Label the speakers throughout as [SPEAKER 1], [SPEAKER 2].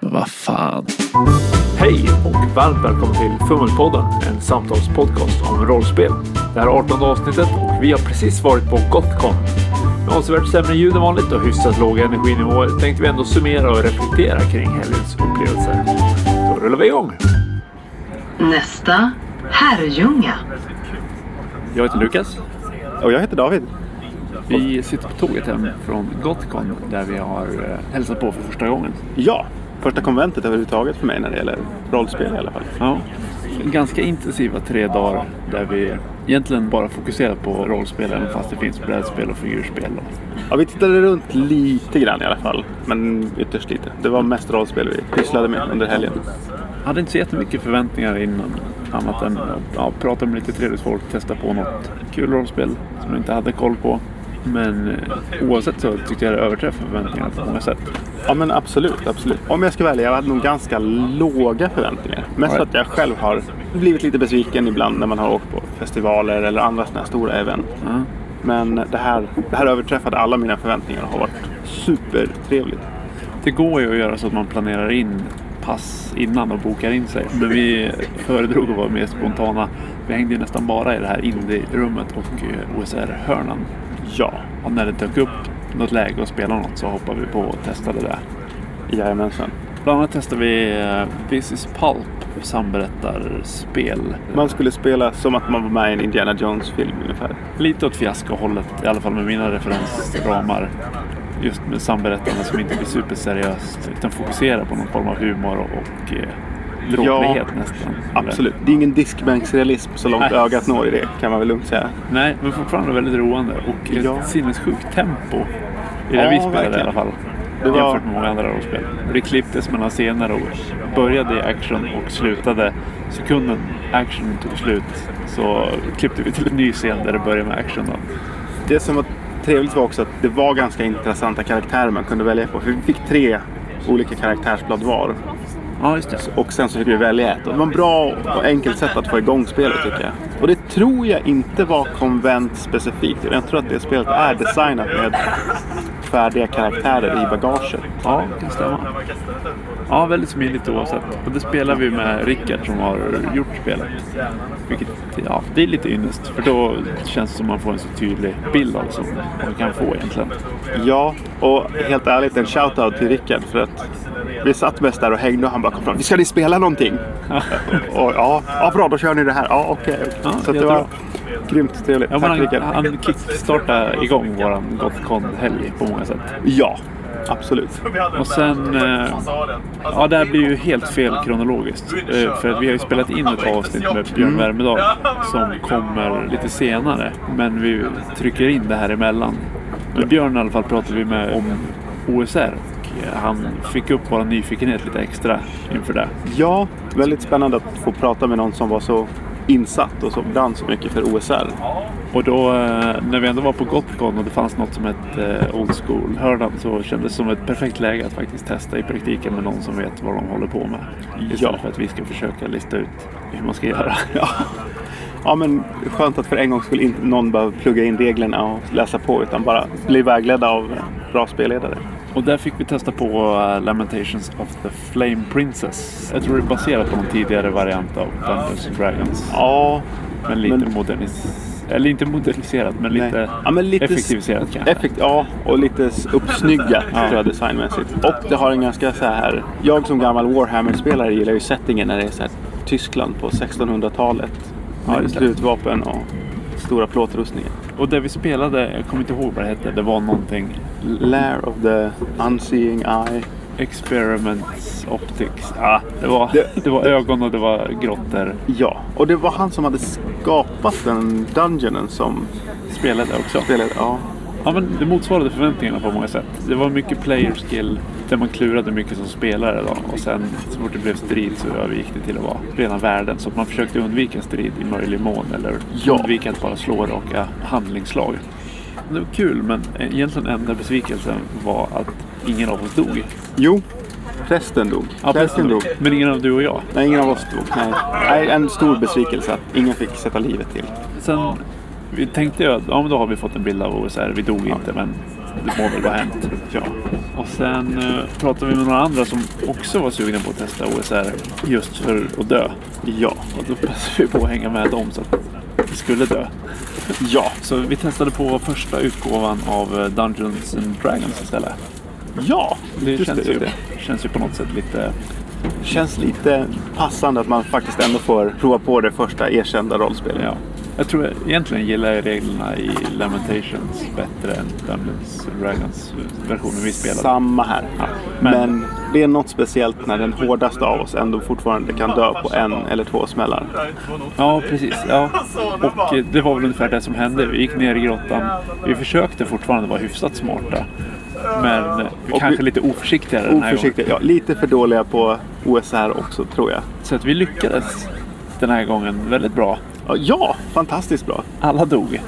[SPEAKER 1] Vad fan.
[SPEAKER 2] Hej och varmt välkommen till Fummelpodden, en samtalspodcast om rollspel. Det här är 18 avsnittet och vi har precis varit på Gothcon. Med avsevärt sämre ljud än vanligt och hyfsat låga energinivåer tänkte vi ändå summera och reflektera kring helgens upplevelser. Då rullar vi igång!
[SPEAKER 3] Nästa, Herrljunga.
[SPEAKER 2] Jag heter Lukas.
[SPEAKER 4] Och jag heter David.
[SPEAKER 2] Vi sitter på tåget hem från Gothcon där vi har eh, hälsat på för första gången.
[SPEAKER 4] Ja, första konventet överhuvudtaget för mig när det gäller rollspel i alla fall.
[SPEAKER 2] Ja. Ganska intensiva tre dagar där vi egentligen bara fokuserar på rollspel även fast det finns brädspel och figurspel.
[SPEAKER 4] Ja, vi tittade runt lite grann i alla fall, men ytterst lite. Det var mest rollspel vi pysslade med under helgen.
[SPEAKER 2] Jag hade inte så jättemycket förväntningar innan. Annat än att ja, prata med lite trevligt folk, testa på något kul rollspel som jag inte hade koll på. Men eh, oavsett så tyckte jag det överträffade förväntningarna på många sätt.
[SPEAKER 4] Ja, men absolut, absolut. Om jag ska välja, jag hade nog ganska låga förväntningar. Mest för att jag själv har blivit lite besviken ibland när man har åkt på festivaler eller andra sådana här stora event.
[SPEAKER 2] Ja.
[SPEAKER 4] Men det här, det här överträffade alla mina förväntningar och har varit supertrevligt.
[SPEAKER 2] Det går ju att göra så att man planerar in pass innan och bokar in sig. Men vi föredrog att vara mer spontana. Vi hängde ju nästan bara i det här indie-rummet och eh, OSR-hörnan.
[SPEAKER 4] Ja,
[SPEAKER 2] Och när det dök upp något läge att spela något så hoppade vi på och testade det.
[SPEAKER 4] jajamensan.
[SPEAKER 2] Bland annat testade vi eh, This is Pulp, samberättarspel.
[SPEAKER 4] Man skulle spela som att man var med i en Indiana Jones-film ungefär.
[SPEAKER 2] Lite åt fiaskohållet, i alla fall med mina referensramar. Just med samberättande som inte blir superseriöst utan fokuserar på någon form av humor och, och eh, dråplighet nästan.
[SPEAKER 4] Absolut. Det är ingen diskbänksrealism så långt
[SPEAKER 2] Nej.
[SPEAKER 4] ögat når i det kan man väl lugnt säga.
[SPEAKER 2] Nej, men fortfarande väldigt roande och ett
[SPEAKER 4] Ja.
[SPEAKER 2] sinnessjukt tempo. I det
[SPEAKER 4] Ja,
[SPEAKER 2] vi spelade i
[SPEAKER 4] verkligen.
[SPEAKER 2] alla fall.
[SPEAKER 4] Det var-
[SPEAKER 2] Jämfört med många andra rollspel. Det klipptes mellan scener och började i action och slutade sekunden action tog slut så klippte vi till en ny scen där det började med action. Då.
[SPEAKER 4] Det som var trevligt var också att det var ganska intressanta karaktärer man kunde välja på. För vi fick tre olika karaktärsblad var.
[SPEAKER 2] Ja, just det.
[SPEAKER 4] Och sen så fick vi välja ett. Och det var en bra och enkelt sätt att få igång spelet tycker jag. Och det tror jag inte var konvent specifikt. Jag tror att det spelet är designat med färdiga karaktärer i bagaget.
[SPEAKER 2] Ja, det kan stämma. Ja, väldigt smidigt oavsett. Och det spelar vi med Rickard som har gjort spelet. Vilket, ja, det är lite ynnest. För då känns det som man får en så tydlig bild av som man kan få egentligen.
[SPEAKER 4] Ja, och helt ärligt en shoutout till Rickard för att vi satt mest där och hängde och han bara kom fram. Ska ni spela någonting? och, ja, ja, bra då kör ni det här. Ja, okej. okej.
[SPEAKER 2] Ja,
[SPEAKER 4] så att det
[SPEAKER 2] jättebra.
[SPEAKER 4] var grymt trevligt.
[SPEAKER 2] Ja,
[SPEAKER 4] Tack
[SPEAKER 2] men han,
[SPEAKER 4] Rickard.
[SPEAKER 2] han kickstartade igång våran Gothcon-helg på många sätt.
[SPEAKER 4] Ja, absolut.
[SPEAKER 2] Och sen... Eh, ja, det här blir ju helt fel kronologiskt. Eh, för att vi har ju spelat in ett avsnitt med Björn Värmedal som kommer lite senare. Men vi trycker in det här emellan. Med Björn i alla fall pratade vi med om OSR. och, eh, Han fick upp vår nyfikenhet lite extra inför det.
[SPEAKER 4] Ja, väldigt spännande att få prata med någon som var så insatt och som brann så mycket för OSR.
[SPEAKER 2] Och då eh, när vi ändå var på Gothcon och det fanns något som hette eh, Old School-hörnan så kändes det som ett perfekt läge att faktiskt testa i praktiken med någon som vet vad de håller på med. Istället
[SPEAKER 4] Ja.
[SPEAKER 2] för att vi ska försöka lista ut hur man ska göra.
[SPEAKER 4] Ja. ja, men skönt att för en gång skulle inte någon behöva plugga in reglerna och läsa på utan bara bli vägledda av eh, bra spelledare.
[SPEAKER 2] Och där fick vi testa på eh, Lamentations of the Flame Princess. Jag tror det är baserat på någon tidigare variant av Dungeons and Dragons.
[SPEAKER 4] Ja,
[SPEAKER 2] Men lite
[SPEAKER 4] men-
[SPEAKER 2] modernis... Eller inte moderniserat, men
[SPEAKER 4] Nej.
[SPEAKER 2] lite,
[SPEAKER 4] Ja, men lite s-
[SPEAKER 2] effektiviserat kanske.
[SPEAKER 4] Effekt, ja, och lite s- uppsnyggat tror jag designmässigt. Och det har en ganska så här... Jag som gammal Warhammer-spelare gillar ju settingen när det är så här Tyskland på 1600-talet.
[SPEAKER 2] Ja,
[SPEAKER 4] Med
[SPEAKER 2] just det.
[SPEAKER 4] krutvapen och stora plåtrustningar.
[SPEAKER 2] Och det vi spelade, jag kommer inte ihåg vad det hette, det var någonting...
[SPEAKER 4] Lair of the Unseeing Eye.
[SPEAKER 2] Experiments Optics. Ja, det, var, det,
[SPEAKER 4] Det-
[SPEAKER 2] var ögon och det var grottor.
[SPEAKER 4] Ja, och det var han som hade skapat den dungeonen som
[SPEAKER 2] Spelade också.
[SPEAKER 4] spelade... Ja.
[SPEAKER 2] Ja, men det motsvarade förväntningarna på många sätt. Det var mycket player skill där man klurade mycket som spelare. Då. Och sen så fort det blev strid så övergick det till att vara rena värden. Så att man försökte undvika strid i möjlig mån eller
[SPEAKER 4] Ja.
[SPEAKER 2] undvika att bara slå raka handlingsslag. Det var kul men egentligen enda besvikelsen var att ingen av oss dog.
[SPEAKER 4] Jo, prästen dog.
[SPEAKER 2] Ja,
[SPEAKER 4] prästen dog.
[SPEAKER 2] Men ingen av du och jag.
[SPEAKER 4] Nej, ingen av oss dog. Nej. Nej, en stor besvikelse att ingen fick sätta livet till.
[SPEAKER 2] Sen vi tänkte jag att ja, men då har vi fått en bild av OSR. Vi dog inte men
[SPEAKER 4] det må väl ha hänt.
[SPEAKER 2] Ja. Och sen eh, pratade vi med några andra som också var sugna på att testa OSR just för att dö.
[SPEAKER 4] Ja.
[SPEAKER 2] Och då passade vi på att hänga med dem så att vi skulle dö.
[SPEAKER 4] Ja.
[SPEAKER 2] Så vi testade på första utgåvan av eh, Dungeons and Dragons istället.
[SPEAKER 4] Ja.
[SPEAKER 2] Det
[SPEAKER 4] Just
[SPEAKER 2] känns,
[SPEAKER 4] just
[SPEAKER 2] ju, känns ju på något sätt lite...
[SPEAKER 4] Känns lite passande att man faktiskt ändå får prova på det första erkända rollspelet.
[SPEAKER 2] Ja. Jag tror jag- egentligen gillar jag reglerna i Lamentations bättre än Dungeons and Dragons versionen vi spelade.
[SPEAKER 4] Samma här.
[SPEAKER 2] men-
[SPEAKER 4] men... det är något speciellt när den hårdaste av oss ändå fortfarande kan dö på en eller två smällar.
[SPEAKER 2] Ja, precis. Ja. Och eh, det var väl ungefär det som hände. Vi gick ner i grottan. Vi försökte fortfarande vara hyfsat smarta. Men eh,
[SPEAKER 4] Och
[SPEAKER 2] kanske
[SPEAKER 4] vi-
[SPEAKER 2] lite oförsiktigare den här gången.
[SPEAKER 4] Oförsiktiga. Ja, lite för dåliga på OSR också tror jag.
[SPEAKER 2] Så att vi lyckades den här gången väldigt bra.
[SPEAKER 4] Ja, Ja, fantastiskt bra.
[SPEAKER 2] Alla dog.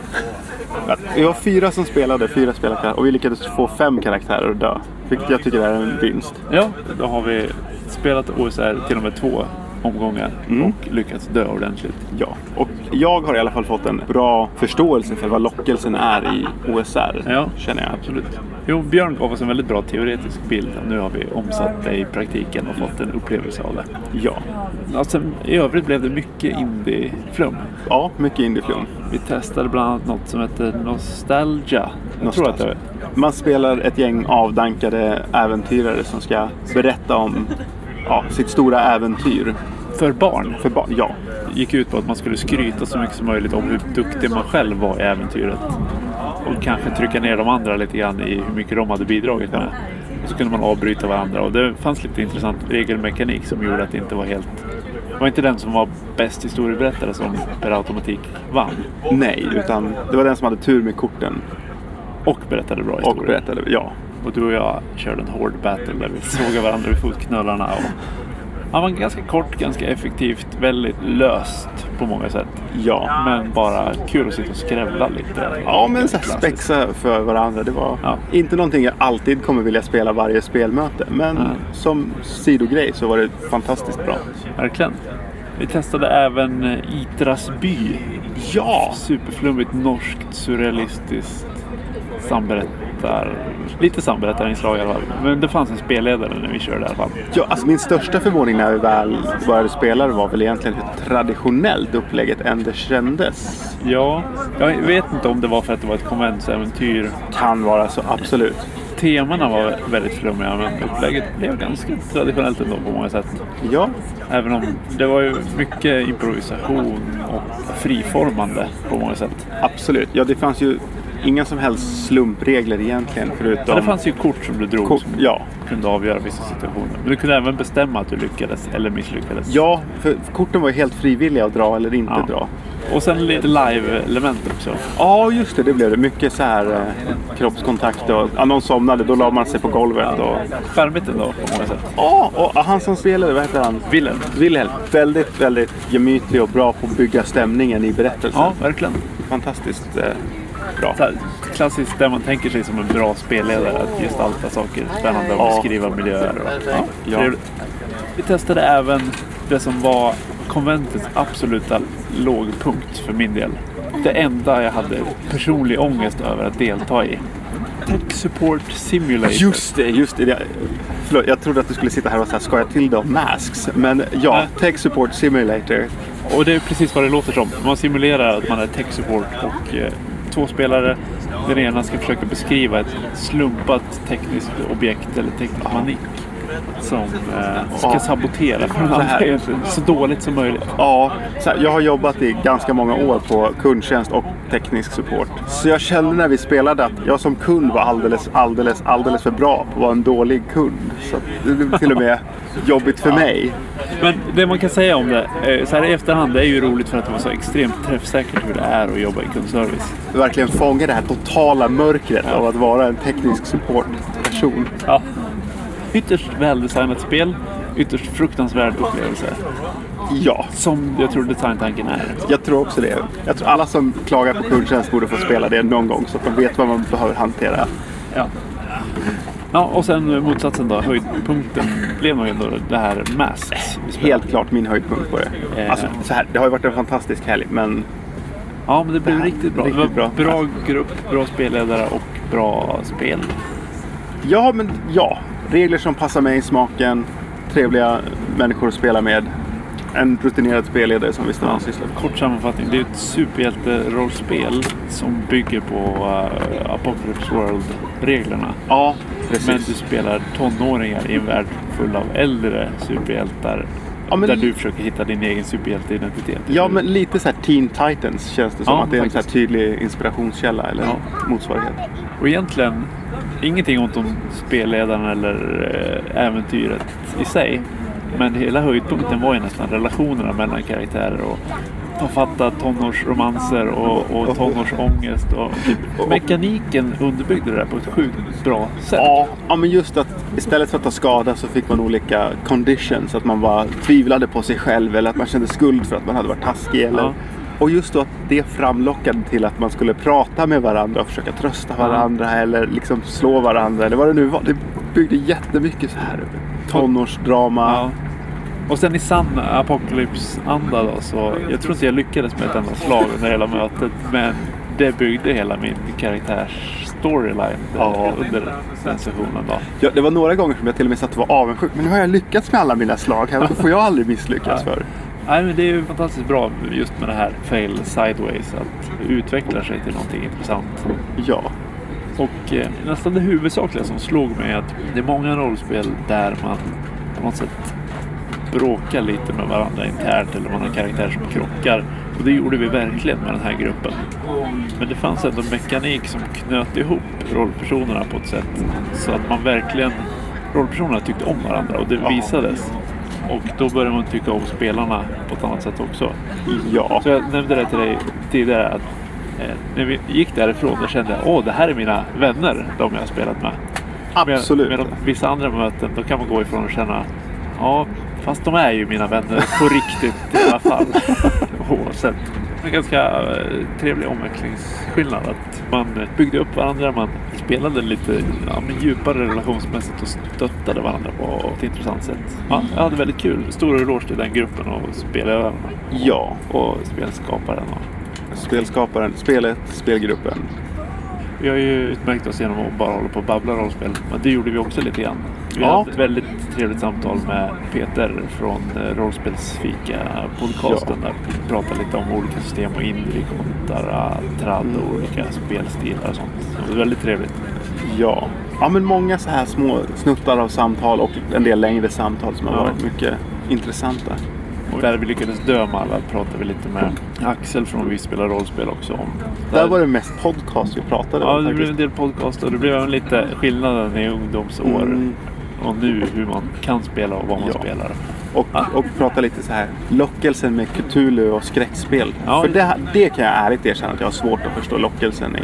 [SPEAKER 4] Vi var fyra som spelade, fyra spelkaraktärer och vi lyckades få fem karaktärer att dö. Vilket jag tycker är en vinst.
[SPEAKER 2] Ja, då har vi spelat OSR till och med två omgångar
[SPEAKER 4] Mm.
[SPEAKER 2] och lyckats dö ordentligt.
[SPEAKER 4] Ja, och jag har i alla fall fått en bra förståelse för vad lockelsen är i OSR.
[SPEAKER 2] Ja.
[SPEAKER 4] Känner jag.
[SPEAKER 2] Absolut. Jo, Björn gav oss en väldigt bra teoretisk bild. Nu har vi omsatt det i praktiken och fått en upplevelse av det.
[SPEAKER 4] Ja,
[SPEAKER 2] Ja, sen, I övrigt blev det mycket indie-flum.
[SPEAKER 4] ja mycket indieflum.
[SPEAKER 2] Vi testade bland annat något som heter Nostalgia. Jag tror att det var.
[SPEAKER 4] Man spelar ett gäng avdankade äventyrare som ska berätta om ja, sitt stora äventyr
[SPEAKER 2] För barn.
[SPEAKER 4] för barn. Ja,
[SPEAKER 2] gick ut på att man skulle skryta så mycket som möjligt om hur duktig man själv var i äventyret. Och kanske trycka ner de andra lite grann i hur mycket de hade bidragit med. Och så kunde man avbryta varandra och det fanns lite intressant regelmekanik som gjorde att det inte var helt... Det var inte den som var bäst historieberättare som per automatik vann.
[SPEAKER 4] nej, utan det var den som hade tur med korten
[SPEAKER 2] Och berättade bra
[SPEAKER 4] och
[SPEAKER 2] historier.
[SPEAKER 4] berättade. Ja,
[SPEAKER 2] Och du och jag körde en hård battle där vi sågade varandra vid fotknölarna. Och... Han var ganska kort, ganska effektivt, väldigt löst på många sätt.
[SPEAKER 4] ja.
[SPEAKER 2] Men bara kul att sitta och skrävla lite.
[SPEAKER 4] Ja, men så här spexa för varandra. Det var
[SPEAKER 2] Ja.
[SPEAKER 4] inte någonting jag alltid kommer vilja spela varje spelmöte. Men som sidogrej så var det fantastiskt bra.
[SPEAKER 2] Verkligen. Vi testade även eh, Itras by.
[SPEAKER 4] Ja!
[SPEAKER 2] Superflummigt norskt, surrealistiskt samberättar... Lite samberättarinslag i alla fall. Men det fanns en spelledare när vi körde i alla fall.
[SPEAKER 4] Ja, alltså min största förvåning när vi väl började spela det var väl egentligen hur traditionellt upplägget ändå kändes.
[SPEAKER 2] Ja, jag vet inte om det var för att det var ett konventsäventyr.
[SPEAKER 4] Kan vara så, absolut.
[SPEAKER 2] Temana var väldigt flummiga men upplägget blev ganska traditionellt ändå på många sätt.
[SPEAKER 4] Ja,
[SPEAKER 2] Även om det var ju mycket improvisation och friformande på många sätt.
[SPEAKER 4] absolut. Ja, det fanns ju inga som helst slumpregler egentligen förutom...
[SPEAKER 2] Ja, det fanns ju kort som du drog
[SPEAKER 4] Kort,
[SPEAKER 2] som
[SPEAKER 4] ja.
[SPEAKER 2] kunde avgöra vissa situationer. Men du kunde även bestämma att du lyckades eller misslyckades.
[SPEAKER 4] Ja, för korten var ju helt frivilliga att dra eller inte
[SPEAKER 2] Ja.
[SPEAKER 4] dra.
[SPEAKER 2] Och sen lite live-element också.
[SPEAKER 4] Ja, just det. Det blev det. Mycket så här eh, kroppskontakt och ja, någon somnade. Då la man sig på golvet. Och,
[SPEAKER 2] Charmigt ändå på många sätt.
[SPEAKER 4] ja, och han som spelade, vad heter han?
[SPEAKER 2] Wilhelm.
[SPEAKER 4] Wilhelm. Väldigt, väldigt gemytlig och bra på att bygga stämningen i berättelsen.
[SPEAKER 2] Ja, verkligen.
[SPEAKER 4] Fantastiskt eh, bra.
[SPEAKER 2] Så här, klassiskt det man tänker sig som en bra spelledare. Att gestalta saker spännande och
[SPEAKER 4] Ja.
[SPEAKER 2] beskriva miljöer. Och, ja,
[SPEAKER 4] Ja.
[SPEAKER 2] trevligt. Vi testade även det som var konventets absoluta lågpunkt för min del. Det enda jag hade personlig ångest över att delta i. Tech Support Simulator.
[SPEAKER 4] Just det, just det. Jag- Förlåt, jag trodde att du skulle sitta här och så här, skoja till det om masks. Men ja,
[SPEAKER 2] Nej.
[SPEAKER 4] Tech Support Simulator.
[SPEAKER 2] Och det är precis vad det låter som. Man simulerar att man är tech support och eh, två spelare. Den ena ska försöka beskriva ett slumpat tekniskt objekt eller teknisk manik. Som eh, ska
[SPEAKER 4] Ja.
[SPEAKER 2] sabotera för den
[SPEAKER 4] Så
[SPEAKER 2] andra
[SPEAKER 4] här.
[SPEAKER 2] egentligen. så dåligt som möjligt.
[SPEAKER 4] Ja, så här, jag har jobbat i ganska många år på kundtjänst och teknisk support. Så jag kände när vi spelade att jag som kund var alldeles, alldeles, alldeles för bra på att vara en dålig kund. Så att det blev till och med jobbigt för mig.
[SPEAKER 2] Men det man kan säga om det eh, så här i efterhand det är ju roligt för att det var så extremt träffsäkert hur det är att jobba i kundservice.
[SPEAKER 4] Verkligen fånga det här totala mörkret av att vara en teknisk supportperson.
[SPEAKER 2] Ja. Ytterst väldesignat spel. Ytterst fruktansvärd upplevelse.
[SPEAKER 4] Ja,
[SPEAKER 2] Som jag tror designtanken är.
[SPEAKER 4] jag tror också det. Jag tror alla som klagar på kundtjänst borde få spela det någon gång så att de vet vad man behöver hantera.
[SPEAKER 2] Ja. Ja, och sen eh, motsatsen då. Höjdpunkten blev nog ändå det här Masks. vi spelade.
[SPEAKER 4] Helt klart min höjdpunkt på det.
[SPEAKER 2] Eh.
[SPEAKER 4] Alltså, så här, det har ju varit en fantastisk helg men
[SPEAKER 2] Ja, men det blev
[SPEAKER 4] Det här-
[SPEAKER 2] riktigt bra.
[SPEAKER 4] riktigt
[SPEAKER 2] det var
[SPEAKER 4] bra.
[SPEAKER 2] bra grupp, bra spelledare och bra spel.
[SPEAKER 4] Ja, men ja. Regler som passar mig i smaken. Trevliga människor att spela med. En rutinerad spelledare som visste vad han sysslade med.
[SPEAKER 2] Kort sammanfattning, det är ett superhjälterollspel som bygger på eh, Apocalypse World-reglerna.
[SPEAKER 4] Ja,
[SPEAKER 2] Men du
[SPEAKER 4] precis.
[SPEAKER 2] spelar tonåringar i en värld full av äldre superhjältar.
[SPEAKER 4] Ja, men-
[SPEAKER 2] Där du försöker hitta din egen superhjälteidentitet.
[SPEAKER 4] Ja, men lite så här Teen Titans känns det som.
[SPEAKER 2] Ja,
[SPEAKER 4] att det är en så här
[SPEAKER 2] faktiskt.
[SPEAKER 4] tydlig inspirationskälla eller
[SPEAKER 2] Ja.
[SPEAKER 4] motsvarighet.
[SPEAKER 2] Och egentligen, ingenting ont om spelledaren eller eh, äventyret i sig. Men hela höjdpunkten var ju nästan relationerna mellan karaktärer och författa tonårsromanser och, och tonårsångest. Och typ. Mekaniken underbyggde det där på ett sjukt bra sätt.
[SPEAKER 4] Ja, ja, men just att istället för att ta skada så fick man olika conditions. Att man bara tvivlade på sig själv eller att man kände skuld för att man hade varit taskig. Eller...
[SPEAKER 2] Ja.
[SPEAKER 4] Och just då att det framlockade till att man skulle prata med varandra och försöka trösta varandra eller liksom slå varandra eller vad det nu var. Det byggde jättemycket så här tonårsdrama.
[SPEAKER 2] Ja. Och sen i sann apokalypsanda då så. Jag tror inte jag lyckades med ett enda slag under hela mötet. Men det byggde hela min karaktärs storyline
[SPEAKER 4] Ja.
[SPEAKER 2] under den sessionen då.
[SPEAKER 4] Ja, det var några gånger som jag till och med satt och var avundsjuk. Men nu har jag lyckats med alla mina slag. Här Varför får jag aldrig misslyckas
[SPEAKER 2] Ja.
[SPEAKER 4] för?
[SPEAKER 2] Nej, men det är ju fantastiskt bra just med det här fail sideways. Att det utvecklar sig till någonting intressant.
[SPEAKER 4] Ja.
[SPEAKER 2] Och eh, nästan det huvudsakliga som slog mig är att det är många rollspel där man på något sätt bråkar lite med varandra internt eller man har karaktärer som krockar. Och det gjorde vi verkligen med den här gruppen. Men det fanns ändå mekanik som knöt ihop rollpersonerna på ett sätt så att man verkligen rollpersonerna tyckte om varandra och det visades. Och då började man tycka om spelarna på ett annat sätt också.
[SPEAKER 4] Ja.
[SPEAKER 2] Så jag nämnde det till dig tidigare att eh, när vi gick därifrån då kände jag åh det här är mina vänner, de jag har spelat med. Med-
[SPEAKER 4] Absolut.
[SPEAKER 2] Medan vissa andra möten då kan man gå ifrån och känna ja fast de är ju mina vänner på riktigt i alla fall. Oavsett. En ganska eh, trevlig omväxlingsskillnad. Att man byggde upp varandra, man spelade lite ja, men djupare relationsmässigt och stöttade varandra på ett intressant sätt. Ja, jag hade väldigt kul. Stor eloge till den gruppen och spelövarna
[SPEAKER 4] Ja.
[SPEAKER 2] och spelskaparen. Och
[SPEAKER 4] Spelskaparen, spelet, spelgruppen.
[SPEAKER 2] vi har ju utmärkt oss genom att bara hålla på och babbla rollspel. Men det gjorde vi också lite grann. Vi
[SPEAKER 4] Ja.
[SPEAKER 2] hade ett väldigt trevligt samtal med Peter från eh, Rollspelsfika-podcasten. Där vi pratade lite om olika system och indie kontra trad
[SPEAKER 4] Mm.
[SPEAKER 2] och olika spelstilar och sånt. Så Det var väldigt trevligt.
[SPEAKER 4] Ja. ja, men många så här små snuttar av samtal och en del längre samtal som har
[SPEAKER 2] Ja.
[SPEAKER 4] varit mycket intressanta.
[SPEAKER 2] Och där vi lyckades dö med alla pratade vi lite med Axel från Vi spelar rollspel också om.
[SPEAKER 4] Där var det mest podcast vi pratade
[SPEAKER 2] Ja,
[SPEAKER 4] om
[SPEAKER 2] det blev
[SPEAKER 4] faktiskt.
[SPEAKER 2] en del podcast och det blev även lite skillnaden i ungdomsår
[SPEAKER 4] Mm.
[SPEAKER 2] och nu hur man kan spela och vad man
[SPEAKER 4] Ja.
[SPEAKER 2] spelar.
[SPEAKER 4] Och, och prata lite så här lockelsen med Cthulhu och skräckspel.
[SPEAKER 2] Ja.
[SPEAKER 4] För det, det kan jag ärligt erkänna att jag har svårt att förstå lockelsen i.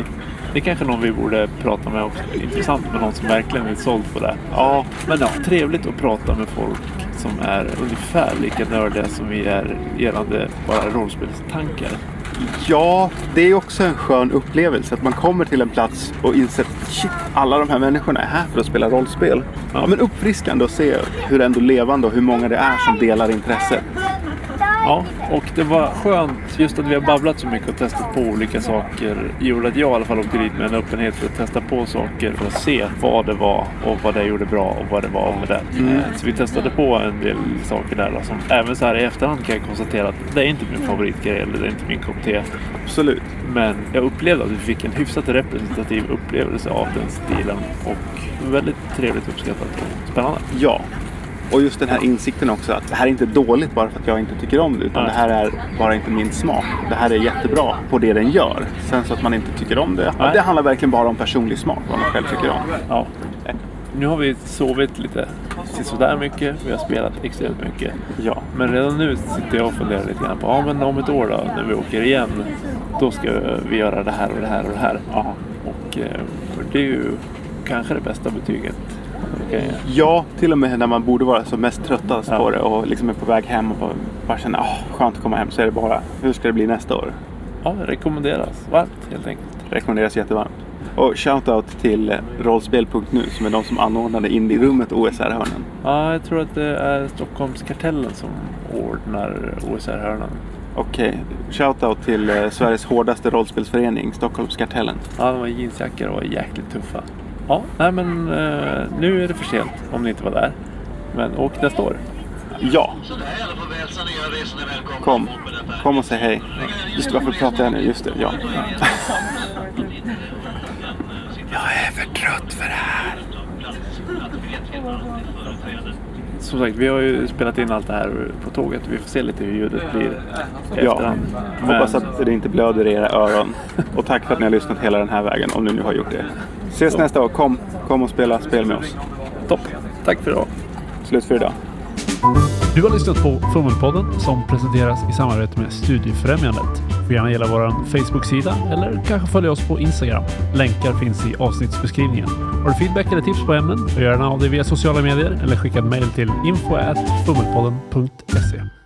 [SPEAKER 2] Det är kanske någon vi borde prata med också. Intressant med någon som verkligen är såld på det.
[SPEAKER 4] Ja,
[SPEAKER 2] Men ja, trevligt att prata med folk som är ungefär lika nördiga som vi är gällande bara rollspelstankar.
[SPEAKER 4] ja, det är också en skön upplevelse att man kommer till en plats och inser att shit, alla de här människorna är här för att spela rollspel.
[SPEAKER 2] Ja.
[SPEAKER 4] Ja, men uppfriskande att se hur ändå levande och hur många det är som delar intresset.
[SPEAKER 2] Ja, och det var skönt just att vi har babblat så mycket och testat på olika saker. gjorde att jag i alla fall åkte dit med en öppenhet för att testa på saker för att se vad det var och vad det gjorde bra och vad det var med det. Eh, Så vi testade på en del saker där då, som även så här i efterhand kan jag konstatera att det är inte min favoritgrej eller det är inte min kopp te.
[SPEAKER 4] Absolut.
[SPEAKER 2] Men jag upplevde att vi fick en hyfsat representativ upplevelse av den stilen och väldigt trevligt uppskattat och spännande.
[SPEAKER 4] Ja. Och just den här insikten också att det här är inte dåligt bara för att jag inte tycker om det. Utan
[SPEAKER 2] Nej.
[SPEAKER 4] det här är bara inte min smak. Det här är jättebra på det den gör. Sen så att man inte tycker om det.
[SPEAKER 2] Nej.
[SPEAKER 4] Det handlar verkligen bara om personlig smak. Vad man själv tycker om.
[SPEAKER 2] Ja. Nu har vi sovit lite sådär mycket. Vi har spelat extremt mycket.
[SPEAKER 4] Ja.
[SPEAKER 2] Men redan nu sitter jag och funderar lite grann på ja, men om ett år då, när vi åker igen. Då ska vi göra det här och det här och det här. Ja. Och eh, det är ju kanske det bästa betyget. Okay.
[SPEAKER 4] Ja, till och med när man borde vara som mest tröttast
[SPEAKER 2] Ja.
[SPEAKER 4] på det och liksom är på väg hem och bara- bara känner åh, skönt att komma hem. Så är det bara, hur ska det bli nästa år?
[SPEAKER 2] Ja, rekommenderas varmt helt enkelt.
[SPEAKER 4] Rekommenderas jättevarmt. Och shoutout till eh, rollspel.nu som är de som anordnade Indie-rummet och OSR-hörnen.
[SPEAKER 2] Ja, jag tror att det är Stockholmskartellen som ordnar OSR-hörnan.
[SPEAKER 4] Okej, eh, shoutout till eh, Sveriges hårdaste rollspelsförening, Stockholmskartellen.
[SPEAKER 2] Ja, de var jeansjackor och var jäkligt tuffa. Ja, nej men eh, nu är det för sent om ni inte var där. Men åk nästa år.
[SPEAKER 4] Ja,
[SPEAKER 1] Sådär i alla fall, väl sanerade resor är välkomna
[SPEAKER 4] kom.
[SPEAKER 1] ombord på detta.
[SPEAKER 4] Kom och säg hej. Just det, varför pratar jag nu? Just det, ja.
[SPEAKER 2] Jag är för trött för det här. Som sagt, vi har ju spelat in allt det här på tåget. Vi får se lite hur ljudet blir i
[SPEAKER 4] ja.
[SPEAKER 2] efterhand.
[SPEAKER 4] Hoppas att det inte blöder i era öron. Och tack för att ni har lyssnat hela den här vägen, om ni nu har gjort det. Ses nästa år, kom. Kom och spela spel med oss.
[SPEAKER 2] Topp. Tack för idag.
[SPEAKER 4] Slut för idag.
[SPEAKER 5] Du har lyssnat på Fummelpodden som presenteras i samarbete med Studiefrämjandet. Du får gärna gilla vår Facebook-sida eller kanske följa oss på Instagram. Länkar finns i avsnittsbeskrivningen. Har du feedback eller tips på ämnen? Hör gärna av dig via sociala medier eller skicka ett mejl till info@fummelpodden.se.